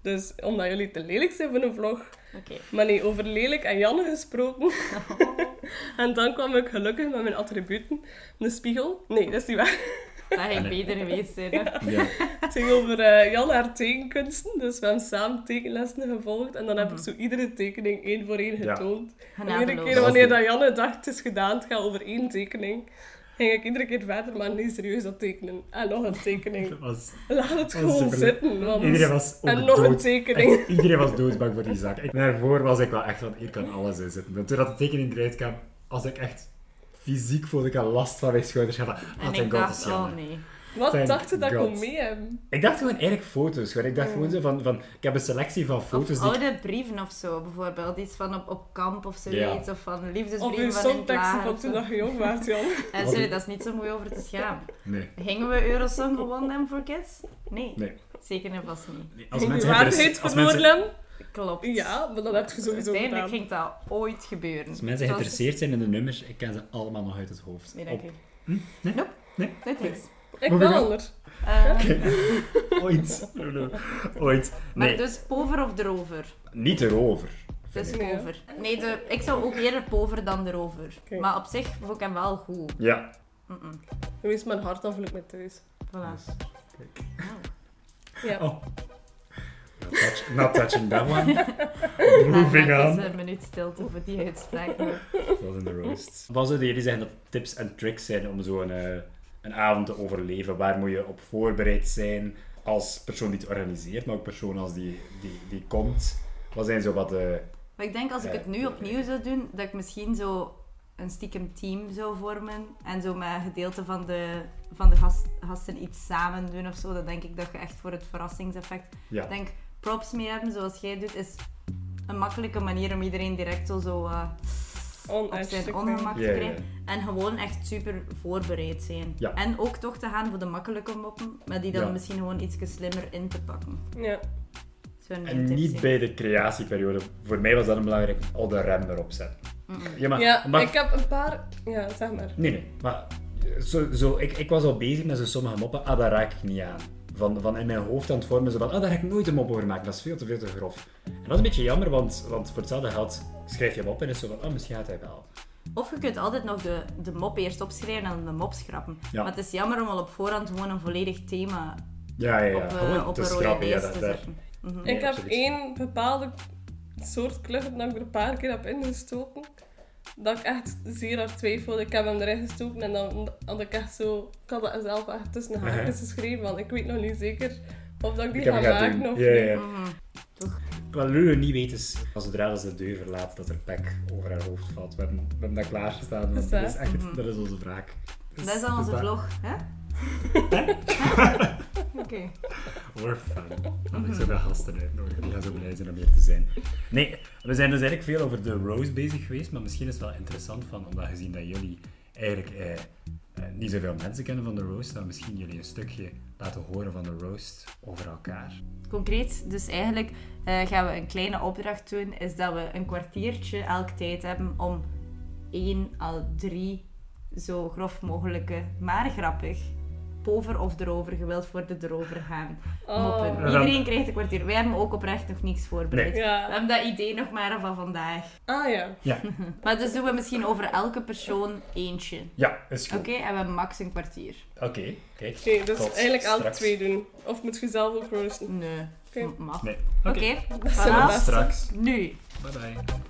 Speaker 3: Dus omdat jullie te lelijk zijn voor een vlog.
Speaker 1: Oké.
Speaker 3: Maar nee, over lelijk en Janne gesproken. en dan kwam ik gelukkig met mijn attributen. Een spiegel. Nee, dat is niet waar.
Speaker 1: Dat ging beter geweest zijn. hè.
Speaker 2: Ja.
Speaker 3: Het ging over eh, Jan haar tekenkunsten, dus we hebben samen tekenlessen gevolgd. En dan heb ik zo iedere tekening één voor één
Speaker 2: Ja.
Speaker 3: getoond. En iedere
Speaker 1: Genadeloos.
Speaker 3: keer wanneer dat Janne dacht, het is gedaan, het gaat over één tekening, ging ik iedere keer verder, maar niet serieus dat tekenen. En nog een tekening.
Speaker 2: Dat was...
Speaker 3: Laat het
Speaker 2: Oh,
Speaker 3: gewoon
Speaker 2: superleuk.
Speaker 3: zitten. Want...
Speaker 2: Iedereen was ook
Speaker 3: En nog een
Speaker 2: dood.
Speaker 3: tekening.
Speaker 2: Echt, iedereen was doodsbang voor die zaak. Ik, daarvoor was ik wel echt van, hier kan alles in zitten. En toen dat de tekening eruit kwam, als ik echt fysiek voelde ik al last van mijn schouders. Ik had van, ah,
Speaker 1: En
Speaker 2: thank
Speaker 1: ik
Speaker 2: god, dat is
Speaker 1: dacht, oh
Speaker 2: jammer.
Speaker 1: nee.
Speaker 3: Wat
Speaker 2: Thank
Speaker 3: dacht je dat ik
Speaker 2: God.
Speaker 3: kon mee hebben?
Speaker 2: Ik dacht gewoon eigenlijk foto's. Gewoon. Ik dacht gewoon zo van, van, ik heb een selectie van foto's
Speaker 1: Of
Speaker 2: die ik
Speaker 1: oude brieven of zo, bijvoorbeeld. Iets van op, op kamp of zoiets. Of van
Speaker 3: Of uw
Speaker 1: liefdesbrieven Dus van in het
Speaker 3: songteksten
Speaker 1: lager
Speaker 3: van
Speaker 1: of zo.
Speaker 3: toen dat je jong was, Jan.
Speaker 1: En sorry, dat is niet zo mooi over te schamen.
Speaker 2: Nee,
Speaker 1: Gingen we Eurosong gewonnen hebben voor kids? Nee.
Speaker 2: nee.
Speaker 1: Zeker en vast niet.
Speaker 3: Ging je
Speaker 2: hebben
Speaker 3: waarheid
Speaker 2: res- als mensen-
Speaker 3: verloren hebben?
Speaker 1: Klopt.
Speaker 3: Ja, maar dat heb je sowieso
Speaker 1: Uiteindelijk
Speaker 3: gedaan.
Speaker 1: ging dat ooit gebeuren.
Speaker 2: Als Dus mensen
Speaker 1: Het was-
Speaker 2: geïnteresseerd zijn in de nummers, ik ken ze allemaal nog uit het hoofd.
Speaker 1: Nee,
Speaker 2: Op- Hm?
Speaker 1: dank u.
Speaker 2: Nee?
Speaker 1: Nope.
Speaker 2: Nee?
Speaker 1: Dit is.
Speaker 3: Ik
Speaker 2: Moet
Speaker 3: wel
Speaker 2: ik-
Speaker 3: anders.
Speaker 1: Eh,
Speaker 2: Ooit. Ooit.
Speaker 1: Maar
Speaker 2: Nee,
Speaker 1: dus pover of erover?
Speaker 2: niet erover.
Speaker 1: Het is
Speaker 3: Nee, hè?
Speaker 1: pover. Nee, de, ik zou ook eerder pover dan erover.
Speaker 3: Oké.
Speaker 1: Maar op zich vond ik hem wel goed.
Speaker 2: Ja.
Speaker 3: Wees mijn hart afelijk met thuis.
Speaker 1: Voilà.
Speaker 3: Ja.
Speaker 2: Oh. Not, touch- not touching that one. Moving
Speaker 1: Ja,
Speaker 2: on.
Speaker 1: het is een minuut stilte voor die uitspraak.
Speaker 2: Dat in de roast. Wat zouden jullie zeggen dat tips en tricks zijn om zo'n eh, een avond te overleven? Waar moet je op voorbereid zijn als persoon die het organiseert, maar ook persoon als die, die, die komt? Wat zijn zo wat de...
Speaker 1: Maar ik denk als ik
Speaker 2: Ja,
Speaker 1: het nu
Speaker 2: ja,
Speaker 1: opnieuw zou doen, dat ik misschien zo een stiekem team zou vormen. En zo met een gedeelte van de, van de gast- gasten iets samen doen of zo. Dan denk ik dat je echt voor het verrassingseffect.
Speaker 2: Ja.
Speaker 1: Ik denk props mee hebben zoals jij doet, is een makkelijke manier om iedereen direct zo, zo eh, op zijn
Speaker 3: Onaardig.
Speaker 1: ongemak
Speaker 2: Ja,
Speaker 1: te
Speaker 2: ja,
Speaker 1: krijgen. En gewoon echt super voorbereid zijn.
Speaker 2: Ja.
Speaker 1: En ook toch te gaan voor de makkelijke moppen, maar die dan
Speaker 2: Ja.
Speaker 1: misschien gewoon iets slimmer in te pakken.
Speaker 3: Ja.
Speaker 1: Zo'n
Speaker 2: En niet bij de creatieperiode. Voor mij was dat een belangrijk al de rem erop zetten. Ja, maar,
Speaker 3: ja,
Speaker 2: maar-
Speaker 3: ik heb een paar... Ja, zeg maar.
Speaker 2: Nee, nee. Maar zo, zo, ik, ik was al bezig met zo sommige moppen. Ah, daar raak ik niet aan. Van, van in mijn hoofd aan het vormen. Zo van, ah, daar ga ik nooit een mop over maken. Dat is veel te veel te grof. En dat is een beetje jammer, want, want voor hetzelfde geld schrijf je hem op en is zo van, ah, misschien gaat hij wel.
Speaker 1: Of je kunt altijd nog de, de mop eerst opschrijven en dan de mop schrappen.
Speaker 2: Ja.
Speaker 1: Maar het is jammer om al op voorhand gewoon een volledig thema
Speaker 2: Ja, ja, ja.
Speaker 1: op, eh,
Speaker 2: Gewoon
Speaker 1: op
Speaker 2: te
Speaker 1: een rode
Speaker 2: schrappen, ja,
Speaker 1: lijst
Speaker 2: dat-
Speaker 1: te
Speaker 2: daar-
Speaker 1: zetten.
Speaker 2: Nee,
Speaker 3: ik heb
Speaker 2: absoluut.
Speaker 3: één bepaalde soort klucht dat ik er een paar keer heb ingestoken. Dat ik echt zeer hard twijfelde. Ik heb hem erin gestoken en dan had ik echt zo... Ik had dat zelf echt tussen de haakjes geschreven, want ik weet nog niet zeker of dat ik die
Speaker 2: Ik heb
Speaker 3: ga
Speaker 2: hem gaan
Speaker 3: maken
Speaker 2: doen.
Speaker 3: of
Speaker 2: Ja, ja,
Speaker 3: niet.
Speaker 2: ja. Wat Lulu niet weet is, als zodra ze de deur verlaat, dat er pek over haar hoofd valt. We hebben, we hebben dat klaargestaan.
Speaker 3: Is
Speaker 2: want
Speaker 3: dat?
Speaker 2: Dat is, echt, dat is onze wraak. Dus-
Speaker 1: Dat is
Speaker 2: dus
Speaker 1: al onze
Speaker 2: dat-
Speaker 1: vlog, hè? Oké.
Speaker 2: Or fun. Dat ik zoveel gasten uitnodigen. Die gaan zo blij zijn om hier te zijn. Nee, we zijn dus eigenlijk veel over de Rose bezig geweest. Maar misschien is het wel interessant van, omdat gezien dat jullie eigenlijk eh, eh, niet zoveel mensen kennen van de Roast, dan misschien jullie een stukje laten horen van de Roast over elkaar.
Speaker 1: Concreet, dus eigenlijk eh, gaan we een kleine opdracht doen, is dat we een kwartiertje elk tijd hebben om één à drie zo grof mogelijke, maar grappig, over of erover, gewild voor de erover gaan. moppen.
Speaker 3: Oh.
Speaker 1: Iedereen krijgt een kwartier. Wij hebben ook oprecht nog niks voorbereid.
Speaker 3: Nee. Ja.
Speaker 1: We hebben dat idee nog maar van vandaag.
Speaker 3: Ah ja.
Speaker 2: Ja,
Speaker 1: Maar dus doen we misschien over elke persoon eentje.
Speaker 2: ja is goed.
Speaker 1: Oké, en we hebben max een kwartier.
Speaker 2: Oké, kijk.
Speaker 3: Oké, dus
Speaker 2: Tot
Speaker 3: eigenlijk elk
Speaker 2: straks.
Speaker 3: twee doen. Of moet je zelf ook roosten?
Speaker 1: Nee,
Speaker 3: Oké.
Speaker 1: m- mag.
Speaker 2: Nee.
Speaker 1: Oké,
Speaker 3: wel
Speaker 1: voilà.
Speaker 3: best.
Speaker 2: Straks.
Speaker 1: Nu.
Speaker 2: Bye bye.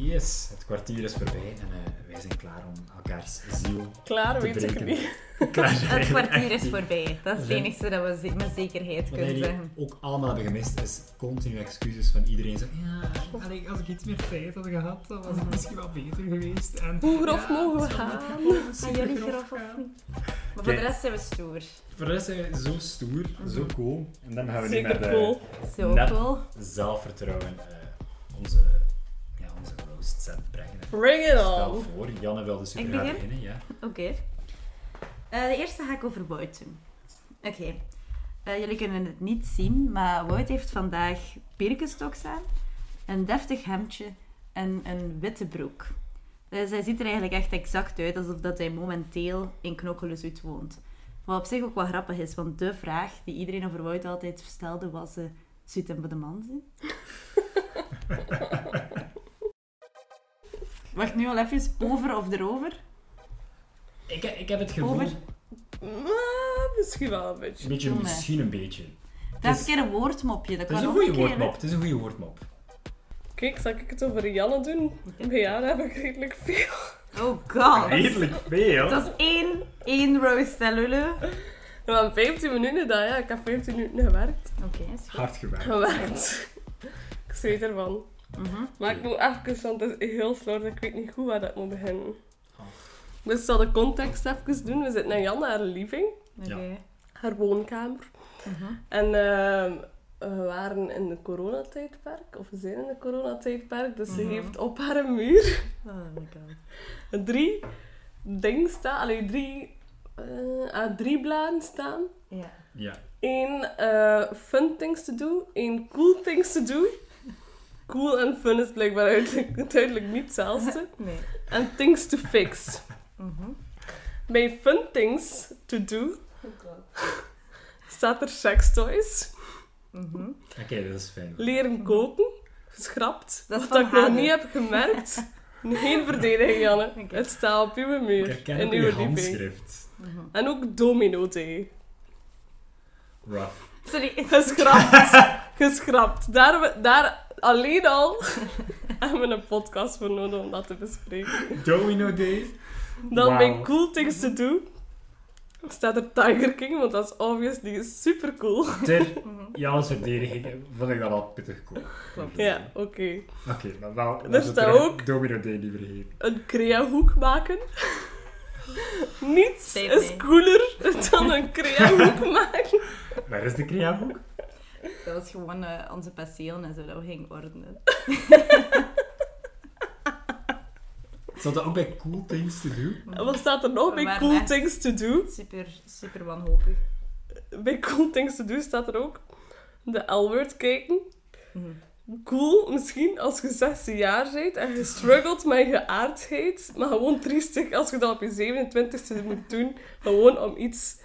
Speaker 2: Yes, het kwartier is voorbij en eh, wij zijn klaar om elkaars ziel
Speaker 3: Klaar,
Speaker 2: te
Speaker 3: weet ik
Speaker 2: breken.
Speaker 3: het niet.
Speaker 2: Klaar zijn
Speaker 1: Het
Speaker 2: we
Speaker 1: kwartier
Speaker 2: echt
Speaker 1: is
Speaker 2: niet.
Speaker 1: voorbij. Dat is het
Speaker 2: zijn-
Speaker 1: enige dat we ze- met zekerheid
Speaker 2: Wat
Speaker 1: kunnen
Speaker 2: jullie
Speaker 1: zeggen.
Speaker 2: ook allemaal hebben gemist is continu excuses van iedereen. Zo, ja, allee, als ik iets meer tijd had gehad, dan was het misschien wel beter geweest. En,
Speaker 3: Mhm. Hoe grof
Speaker 2: ja,
Speaker 3: mogen we
Speaker 2: het is wel niet
Speaker 3: gaan?
Speaker 2: gekomen,
Speaker 1: Zijn jullie
Speaker 2: supergrof
Speaker 1: grof of
Speaker 2: gaan.
Speaker 1: niet? Maar voor
Speaker 2: Oké.
Speaker 1: de rest zijn we stoer.
Speaker 2: Voor de rest zijn we zo stoer, zo cool. En dan gaan we nu
Speaker 3: Mhm. Zeker
Speaker 2: met eh,
Speaker 3: cool.
Speaker 1: Zo
Speaker 2: Nep.
Speaker 1: cool.
Speaker 2: zelfvertrouwen eh, onze, ja, onze roast set brengen.
Speaker 3: Bring it
Speaker 2: Stel
Speaker 3: on.
Speaker 2: voor, Janne wilde super
Speaker 1: Ik
Speaker 2: graag
Speaker 1: begin?
Speaker 2: beginnen. Ja.
Speaker 1: Oké. Eh, de eerste ga ik over Wout doen. Oké. Eh, jullie kunnen het niet zien, maar Wout heeft vandaag birkenstoks aan, een deftig hemdje en een witte broek. Dus hij ziet er eigenlijk echt exact uit alsof dat hij momenteel in Knokkelenzoet woont. Wat op zich ook wel grappig is, want de vraag die iedereen over Wout altijd stelde was... eh Zit hem bij de man zijn? Wacht nu al even, over of erover?
Speaker 2: Ik, ik heb het gevoel,
Speaker 1: Over.
Speaker 3: Ah, misschien wel een beetje.
Speaker 2: een beetje,
Speaker 1: Nee.
Speaker 2: misschien een beetje.
Speaker 1: Dat is
Speaker 2: is-
Speaker 1: een keer een woordmopje. Dat
Speaker 2: Het is
Speaker 1: kan
Speaker 2: een
Speaker 1: ook
Speaker 2: goede
Speaker 1: keer, hè.
Speaker 2: woordmop, het is een goede woordmop.
Speaker 3: Kijk, zal ik het over Janne doen? Bij Janne heb ik redelijk veel.
Speaker 1: Oh god.
Speaker 2: Redelijk veel.
Speaker 1: Dat is één, één roast en lullen. Oké,
Speaker 3: We hebben 15 minuten dan, ja. Ik heb 15 minuten gewerkt.
Speaker 1: is goed.
Speaker 2: Hard gewerkt.
Speaker 3: Gewerkt. Ik zweet ervan.
Speaker 2: Mhm.
Speaker 3: Maar ik moet even, want het is heel slordig. Ik weet niet goed waar dat moet beginnen.
Speaker 2: Oh.
Speaker 3: Dus ik zal de context even doen. We zitten in Janne haar living.
Speaker 1: Oké.
Speaker 3: haar woonkamer.
Speaker 1: Mhm.
Speaker 3: En ehm, we waren in de coronatijdperk, of we zijn in de coronatijdperk, dus ze
Speaker 1: Mhm.
Speaker 3: heeft op haar muur
Speaker 1: Oh my god.
Speaker 3: drie dingen staan, allee, drie, eh, ah, drie bladen staan.
Speaker 1: Ja.
Speaker 2: Ja.
Speaker 3: Eén eh, fun things to do, één cool things to do. Cool en fun is blijkbaar duidelijk, duidelijk niet hetzelfde.
Speaker 1: Nee.
Speaker 3: En things to fix.
Speaker 1: Mhm.
Speaker 3: Bij fun things to do staat er sex toys.
Speaker 1: Mhm.
Speaker 2: Oké, dat is fijn.
Speaker 3: leren koken. Geschrapt.
Speaker 1: Dat is
Speaker 3: wat
Speaker 1: van
Speaker 3: ik nog
Speaker 1: Hanne.
Speaker 3: niet heb gemerkt. Geen verdediging, Janne.
Speaker 1: Oké.
Speaker 3: Het staat op uw
Speaker 2: Ik
Speaker 3: muur.
Speaker 2: herken
Speaker 3: In
Speaker 2: ook uw
Speaker 3: uw living.
Speaker 2: handschrift.
Speaker 1: Mhm.
Speaker 3: En ook domino thee.
Speaker 2: Rough.
Speaker 1: Sorry.
Speaker 3: Geschrapt. Geschrapt. Daar, we- daar alleen al hebben we een podcast voor nodig om dat te bespreken.
Speaker 2: Domino Day.
Speaker 3: Dan
Speaker 2: Wauw.
Speaker 3: bij Cool Things to Do staat er Tiger King, want dat is obviously super cool.
Speaker 2: Ter Janne's verdediging vond ik dat wel pittig cool.
Speaker 1: Mhm. Klopt.
Speaker 3: Ja, oké.
Speaker 2: Oké, maar wel... laten
Speaker 3: Er
Speaker 2: we
Speaker 3: staat
Speaker 2: terug
Speaker 3: ook-
Speaker 2: Domino Day niet vergeten.
Speaker 3: een creahoek maken. Niets
Speaker 1: Steek
Speaker 3: is
Speaker 1: mee.
Speaker 3: cooler dan een creahoek maken.
Speaker 2: Waar is de creaboek?
Speaker 1: Dat was gewoon eh, onze perceel en zo dat we gingen ordenen.
Speaker 2: Zat dat ook bij Cool Things to Do?
Speaker 3: En wat staat er nog bij
Speaker 1: Maar
Speaker 3: Cool
Speaker 1: echt.
Speaker 3: Things to Do?
Speaker 1: Super, super wanhopig.
Speaker 3: Bij Cool Things to Do staat er ook de L-word kijken.
Speaker 1: Mhm.
Speaker 3: Cool, misschien als je 16 jaar bent en je struggelt met je aardheid, maar gewoon triestig als je dat op je 27ste moet doen, gewoon om iets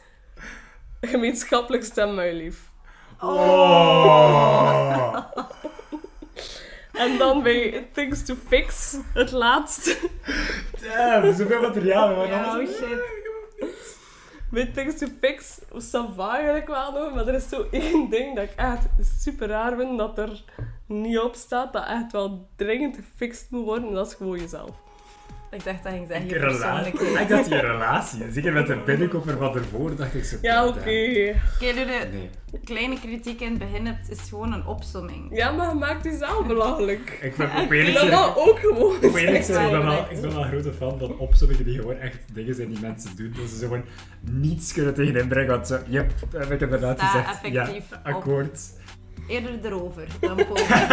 Speaker 3: gemeenschappelijks te hebben, met je lief.
Speaker 2: Oh!
Speaker 3: En dan bij Things to Fix, het laatste.
Speaker 2: Damn, zoveel materiaal. Maar
Speaker 1: Ja, oh
Speaker 2: alles...
Speaker 1: shit.
Speaker 3: Met things to fix, ça va eigenlijk wel nog, maar er is zo één ding dat ik echt super raar vind dat er niet op staat, dat echt wel dringend gefixt moet worden, en dat is gewoon jezelf.
Speaker 1: Ik dacht dat ging zeggen, je
Speaker 2: Ik relatie.
Speaker 1: persoonlijkheid.
Speaker 2: Ik dat je relatie. Zeker met de binnenkoper van ervoor dacht ik zo.
Speaker 3: Ja, oké.
Speaker 1: Oké, Lulu,
Speaker 2: Nee.
Speaker 1: kleine kritiek in het begin hebt, is gewoon een opsomming.
Speaker 3: Ja, maar je maakt jezelf belachelijk.
Speaker 2: Ik ben op eerlijk
Speaker 3: Dat
Speaker 2: gezegd-
Speaker 3: mag ook gewoon
Speaker 2: op eerlijk
Speaker 3: zijn.
Speaker 2: gezegd, ik ben wel- ik ben wel een grote fan van opzommingen die gewoon echt dingen zijn die mensen doen. Dat ze zo gewoon niets kunnen tegen inbrengen. Want zo, yep, heb ik inderdaad
Speaker 1: Sta
Speaker 2: gezegd. Ja,
Speaker 1: effectief op.
Speaker 2: akkoord.
Speaker 1: Eerder erover dan pover.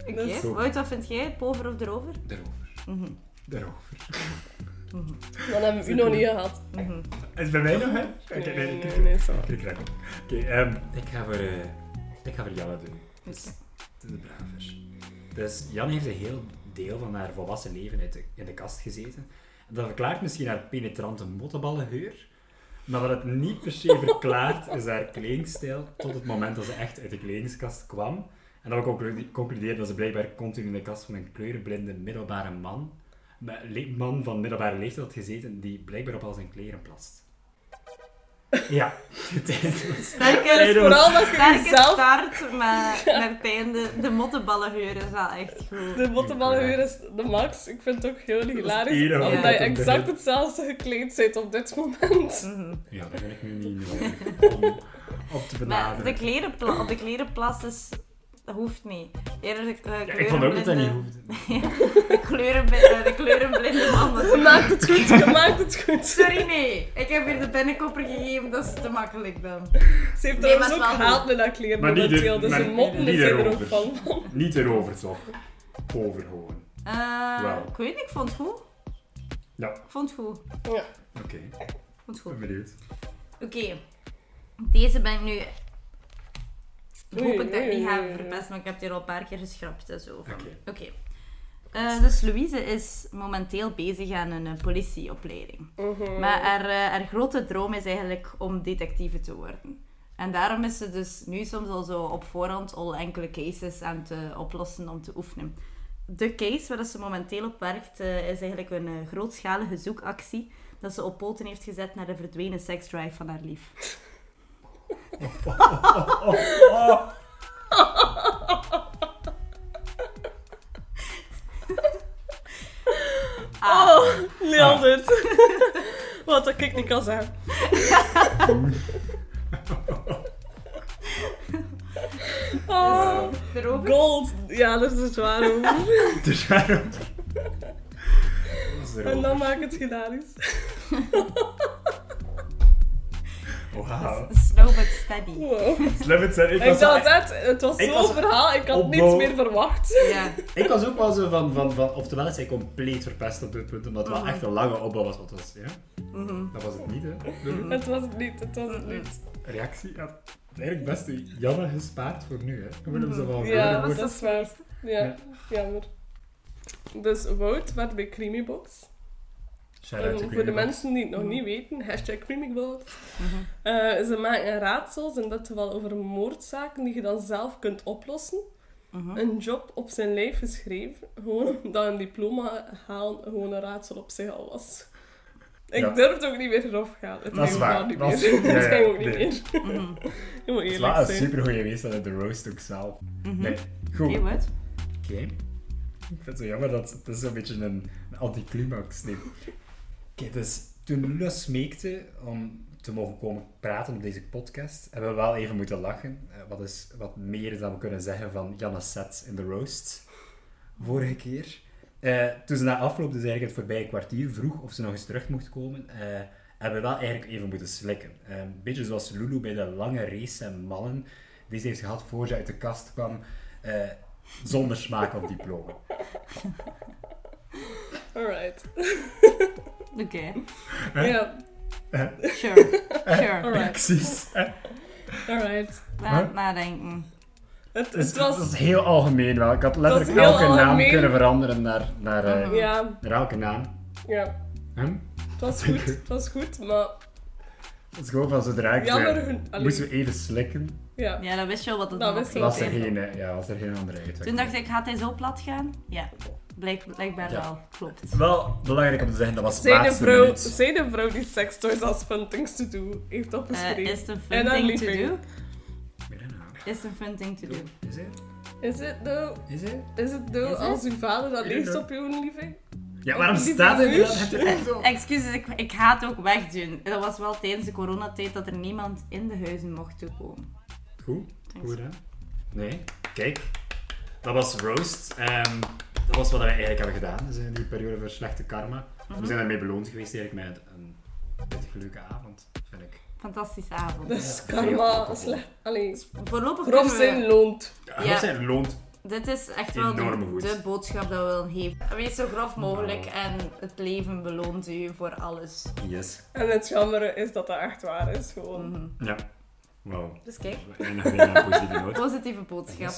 Speaker 1: Oké,
Speaker 3: Dat is-
Speaker 2: Zo.
Speaker 1: Wout, wat vind jij? Pover of erover?
Speaker 2: Daarover.
Speaker 1: Mhm.
Speaker 2: Daarover.
Speaker 3: Dan hebben we u nog niet gehad.
Speaker 1: Mhm.
Speaker 2: Is het bij mij nog, hè? Oké,
Speaker 3: Nee,
Speaker 2: nee,
Speaker 3: nee,
Speaker 2: kijk,
Speaker 3: nee,
Speaker 2: kijk.
Speaker 3: zo.
Speaker 2: Ik raak op. Oké, ehm, ik ga voor, eh ik ga voor Janne doen. Dus,
Speaker 1: Oké.
Speaker 2: het is de braver. Dus Jan heeft een heel deel van haar volwassen leven uit de- in de kast gezeten. En dat verklaart misschien haar penetrante mottenballenheur. Maar wat het niet per se verklaart, is haar kledingstijl tot het moment dat ze echt uit de kledingskast kwam. En dat we conclude- concludeerden dat ze blijkbaar continu in de kast van een kleurenblinde middelbare man, met le- man van middelbare leeftijd had gezeten, die blijkbaar op al zijn kleren plast. Ja, tijdens.
Speaker 1: Sterke,
Speaker 2: Nee, dat
Speaker 3: Dus vooral dat je
Speaker 1: sterke
Speaker 3: jezelf...
Speaker 1: start, maar meteen de, de mottenballenheur is wel echt goed.
Speaker 3: De bottenbalheur is de max. Ik vind het ook heel hilarisch.
Speaker 2: enige
Speaker 3: omdat
Speaker 1: wat
Speaker 3: je
Speaker 1: ik
Speaker 2: op de hut-
Speaker 3: exact hetzelfde gekleed zit op dit moment.
Speaker 1: Mhm.
Speaker 2: Ja, daar ben ik nu niet nodig om op te
Speaker 1: Maar de
Speaker 2: benaderen.
Speaker 1: klerenpla op de klerenplas is... Dat hoeft niet. Eerder de, eh,
Speaker 2: Ja, ik vond ook dat dat niet
Speaker 1: kleurenblinde-
Speaker 2: hoefde.
Speaker 1: de, kleurenbli- eh, de kleurenblinde man. was-
Speaker 3: Je maakt het goed, je maakt het goed.
Speaker 1: Sorry, nee. Ik heb hier de binnenkopper gegeven, dat is te makkelijk dan.
Speaker 3: Ze heeft
Speaker 1: Nee, maar
Speaker 3: trouwens
Speaker 1: het
Speaker 3: ook
Speaker 1: is wel
Speaker 3: haat met haar kleren
Speaker 2: Maar niet
Speaker 3: momenteel,
Speaker 2: er-
Speaker 3: dus
Speaker 2: maar
Speaker 3: ze moppen
Speaker 2: niet
Speaker 3: er zeker ook
Speaker 2: erover.
Speaker 3: van.
Speaker 2: Niet erover toch? Over gewoon.
Speaker 1: Eh,
Speaker 2: Wauw.
Speaker 1: Ik weet niet, ik vond het goed.
Speaker 2: Ja.
Speaker 1: Ik vond het goed. Ik
Speaker 3: Ja.
Speaker 2: Oké,
Speaker 1: vond het goed.
Speaker 2: ben benieuwd.
Speaker 1: Oké. Deze ben ik nu... Ik
Speaker 3: Oei,
Speaker 1: hoop ik dat ik
Speaker 3: oei,
Speaker 1: niet
Speaker 3: oei,
Speaker 1: ga
Speaker 3: oei, oei.
Speaker 1: verpesten, maar ik heb het hier al een paar keer geschrapt en zo. van-
Speaker 2: Oké.
Speaker 1: Oké. Eh, dus Louise is momenteel bezig aan een eh, politieopleiding. Maar haar, eh, haar grote droom is eigenlijk om detectieve te worden. En daarom is ze dus nu soms al zo op voorhand al enkele cases aan het eh, oplossen om te oefenen. de case waar dat ze momenteel op werkt, eh, is eigenlijk een eh, grootschalige zoekactie dat ze op poten heeft gezet naar de verdwenen seksdrive van haar lief. Ah,
Speaker 3: Leel dit. Oh, Wat dat ik niet kan zeggen. Oh,
Speaker 1: Erover?
Speaker 3: gold. Ja, dat is het waar. hoor.
Speaker 2: Dus waarom... Dat is
Speaker 3: En
Speaker 2: erover.
Speaker 3: dan maak ik het gedaan is.
Speaker 2: Wauw.
Speaker 1: Slow but steady.
Speaker 3: Wow.
Speaker 2: Slim het zijn. Ik
Speaker 3: Ik
Speaker 2: was,
Speaker 3: dacht
Speaker 2: ik,
Speaker 3: net, het was
Speaker 2: ik
Speaker 3: zo'n
Speaker 2: was
Speaker 3: verhaal, ik had
Speaker 2: op
Speaker 3: niets
Speaker 2: boven.
Speaker 3: meer verwacht.
Speaker 1: Ja.
Speaker 2: ik was ook wel zo van, van, van... Oftewel is hij compleet verpest op dit punt, omdat het wel echt een lange opbouw was. Wat was, ja?
Speaker 1: Mhm.
Speaker 2: Dat was het niet, hè?
Speaker 3: Het was het niet, het was het niet.
Speaker 2: reactie had eigenlijk best jammer gespaard voor nu, hè? We hebben ze wel
Speaker 3: Ja,
Speaker 2: gehoord.
Speaker 3: dat is waar. Ja,
Speaker 2: Ja.
Speaker 3: jammer. Dus Wout werd bij Creamybox.
Speaker 2: Shout-out
Speaker 3: En
Speaker 2: to
Speaker 3: voor de
Speaker 2: Greenbox.
Speaker 3: mensen die het nog
Speaker 2: Mhm.
Speaker 3: niet weten, hashtag Creamybox. Eh, ze maken raadsels, in dit geval over moordzaken, die je dan zelf kunt oplossen.
Speaker 2: Mhm.
Speaker 1: Mhm.
Speaker 3: Een job op zijn lijf geschreven, gewoon omdat een diploma halen gewoon een raadsel op zich al was. Ik
Speaker 2: Ja.
Speaker 3: durfde ook niet meer erop gaan. Het
Speaker 2: Dat is
Speaker 3: ging
Speaker 2: waar.
Speaker 3: ook niet
Speaker 2: Dat is-
Speaker 3: meer.
Speaker 2: ja,
Speaker 3: Het
Speaker 2: ja,
Speaker 3: ging ook niet
Speaker 2: nee.
Speaker 3: meer.
Speaker 1: Mhm.
Speaker 3: Je moet
Speaker 2: Het was
Speaker 3: eerlijk Mhm.
Speaker 2: een
Speaker 3: zijn.
Speaker 2: super goede geweest dat de roast ook zelf. Nee, goed.
Speaker 1: Mhm. Oké,
Speaker 2: Oké.
Speaker 1: wat?
Speaker 2: Ik vind het zo jammer dat het is een beetje een, een anticlimax nee. Oké, dus toen Lula smeekte om te mogen komen praten op deze podcast, hebben we wel even moeten lachen. Eh, Wat is wat meer is dan we kunnen zeggen van Janne Sets in de roast vorige keer. Eh, toen ze na afloop, dus eigenlijk het voorbije kwartier, vroeg of ze nog eens terug mocht komen, eh, hebben we wel eigenlijk even moeten slikken. Eh, een beetje zoals Lulu bij de lange race en mannen die ze heeft gehad voor ze uit de kast kwam, eh, zonder smaak of diploma.
Speaker 3: Alright.
Speaker 1: Oké.
Speaker 3: Ja,
Speaker 1: Sure. Sure.
Speaker 3: alright.
Speaker 2: Precies. Eh,
Speaker 3: Alright.
Speaker 1: Na-
Speaker 2: Huh?
Speaker 1: Nadenken.
Speaker 3: Het,
Speaker 2: Dus
Speaker 3: het was...
Speaker 2: Dat is heel algemeen wel. Ik had
Speaker 3: Dat
Speaker 2: letterlijk
Speaker 3: is heel
Speaker 2: elke naam
Speaker 3: algemeen. Uh-huh.
Speaker 2: kunnen veranderen naar, naar, eh,
Speaker 3: Ja,
Speaker 2: naar elke naam.
Speaker 3: ja.
Speaker 2: Hm?
Speaker 3: Het was goed, het was goed, maar
Speaker 2: Het is gewoon van zodra ik
Speaker 3: Jammer
Speaker 2: zei,
Speaker 3: genoeg- Allee.
Speaker 2: moesten we even slikken.
Speaker 3: ja.
Speaker 1: Ja, dat wist je al wat het
Speaker 3: Dat
Speaker 1: nog
Speaker 3: wist ik.
Speaker 1: ging
Speaker 2: Was er
Speaker 1: zijn.
Speaker 2: geen, eh, ja, was er geen andere uitweg.
Speaker 1: Toen dacht ik, gaat hij zo plat gaan? Ja, blijk, blijkbaar
Speaker 2: Ja.
Speaker 1: wel. Klopt.
Speaker 2: Wel belangrijk om te zeggen, dat was de
Speaker 3: Zij de,
Speaker 2: laatste
Speaker 3: vrouw,
Speaker 2: minuut.
Speaker 3: zij de vrouw die sekstoys als fun things to do heeft
Speaker 1: Eh,
Speaker 3: opgeschreven.
Speaker 1: is het een
Speaker 3: En
Speaker 1: fun
Speaker 3: dan
Speaker 1: thing to
Speaker 3: liep ik.
Speaker 1: do?
Speaker 2: Mirena.
Speaker 1: Is het een fun thing to do?
Speaker 2: Is het?
Speaker 3: Is het nou?
Speaker 2: Is het?
Speaker 3: Is het nou
Speaker 1: Is het?
Speaker 3: als uw vader dat
Speaker 2: Is het
Speaker 3: leest
Speaker 2: nou?
Speaker 3: op uw lieving?
Speaker 2: Ja, waarom
Speaker 3: Die
Speaker 2: staat het?
Speaker 3: figuur.
Speaker 2: Dat heeft er echt zo-
Speaker 1: Excuses, ik, ik ga het ook wegdoen. Dat was wel tijdens de coronatijd dat er niemand in de huizen mocht toekomen.
Speaker 2: Goed, goed gedaan. Nee, kijk, dat was Roast. Ehm, dat was wat we eigenlijk hebben gedaan. Dus in die periode voor slechte karma. We zijn daarmee beloond geweest eigenlijk met een prettig leuke avond, vind ik.
Speaker 1: Fantastische avond.
Speaker 3: Dat is
Speaker 2: Veel
Speaker 3: karma.
Speaker 2: alcohol.
Speaker 3: Slecht. Allee,
Speaker 1: Voorlopig
Speaker 3: grof
Speaker 1: kunnen we-
Speaker 3: zijn loont.
Speaker 2: Ja,
Speaker 1: Ja.
Speaker 2: Dat zijn loont.
Speaker 1: Dit is echt wel
Speaker 2: Enorm
Speaker 1: de,
Speaker 2: goed. Nou.
Speaker 1: de boodschap dat we willen geven. Wees zo grof mogelijk en het leven beloont u voor alles.
Speaker 2: Yes.
Speaker 3: En het jammere is dat dat echt waar is. Gewoon.
Speaker 2: Ja. Wauw.
Speaker 1: Dus kijk,
Speaker 2: We eindigen weer met een positieve noot.
Speaker 1: positieve boodschap.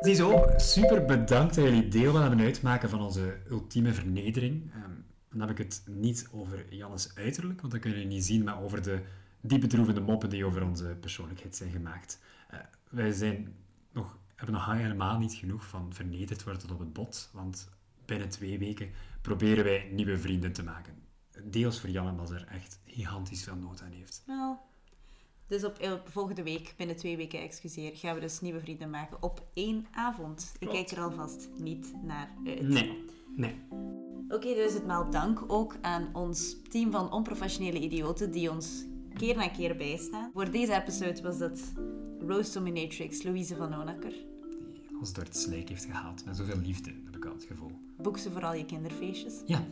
Speaker 2: Ziezo, super bedankt dat jullie deel willen uitmaken van onze ultieme vernedering. Ehm, dan heb ik het niet over Jannes uiterlijk, want dat kunnen jullie niet zien, maar over de diep bedroevende moppen die over onze persoonlijkheid zijn gemaakt. Eh, wij zijn nog, hebben nog helemaal niet genoeg van vernederd worden tot op het bot, want binnen twee weken proberen wij nieuwe vrienden te maken. Deels voor Jan, omdat er echt gigantisch veel nood aan heeft.
Speaker 1: Wel. Dus op, op volgende week, binnen twee weken, excuseer, gaan we dus nieuwe vrienden maken op één avond. Ik kijk er alvast niet naar uit.
Speaker 2: Nee, nee.
Speaker 1: Oké, dus het maal dank ook aan ons team van onprofessionele idioten die ons keer na keer bijstaan. Voor deze episode was dat Roast Dominatrix Louise van Onakker.
Speaker 2: Ons door het slijk heeft gehaald, met zoveel liefde, heb ik al het gevoel.
Speaker 1: Boek ze vooral je kinderfeestjes.
Speaker 2: Ja,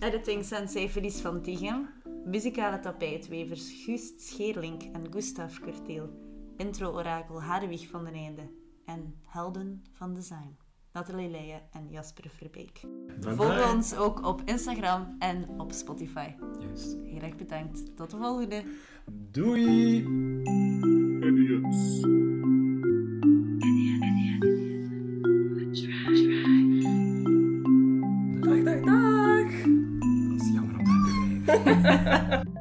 Speaker 1: Editing Sensei Felice van Tighem. Muzikale tapijtwevers Guust Scheerlink en Gustav Kurteel. Intro-orakel Hadewig van den Einde. En helden van design. Nathalie Leijen en Jasper Verbeek. Volg
Speaker 2: Bye-bye.
Speaker 1: ons ook op Instagram en op Spotify.
Speaker 2: Juist.
Speaker 1: Heel erg bedankt. Tot de volgende.
Speaker 2: Doei!
Speaker 4: Idiots.
Speaker 3: Dag, dag, dag.
Speaker 1: Mm.
Speaker 2: Dat is jammer om dat te blijven.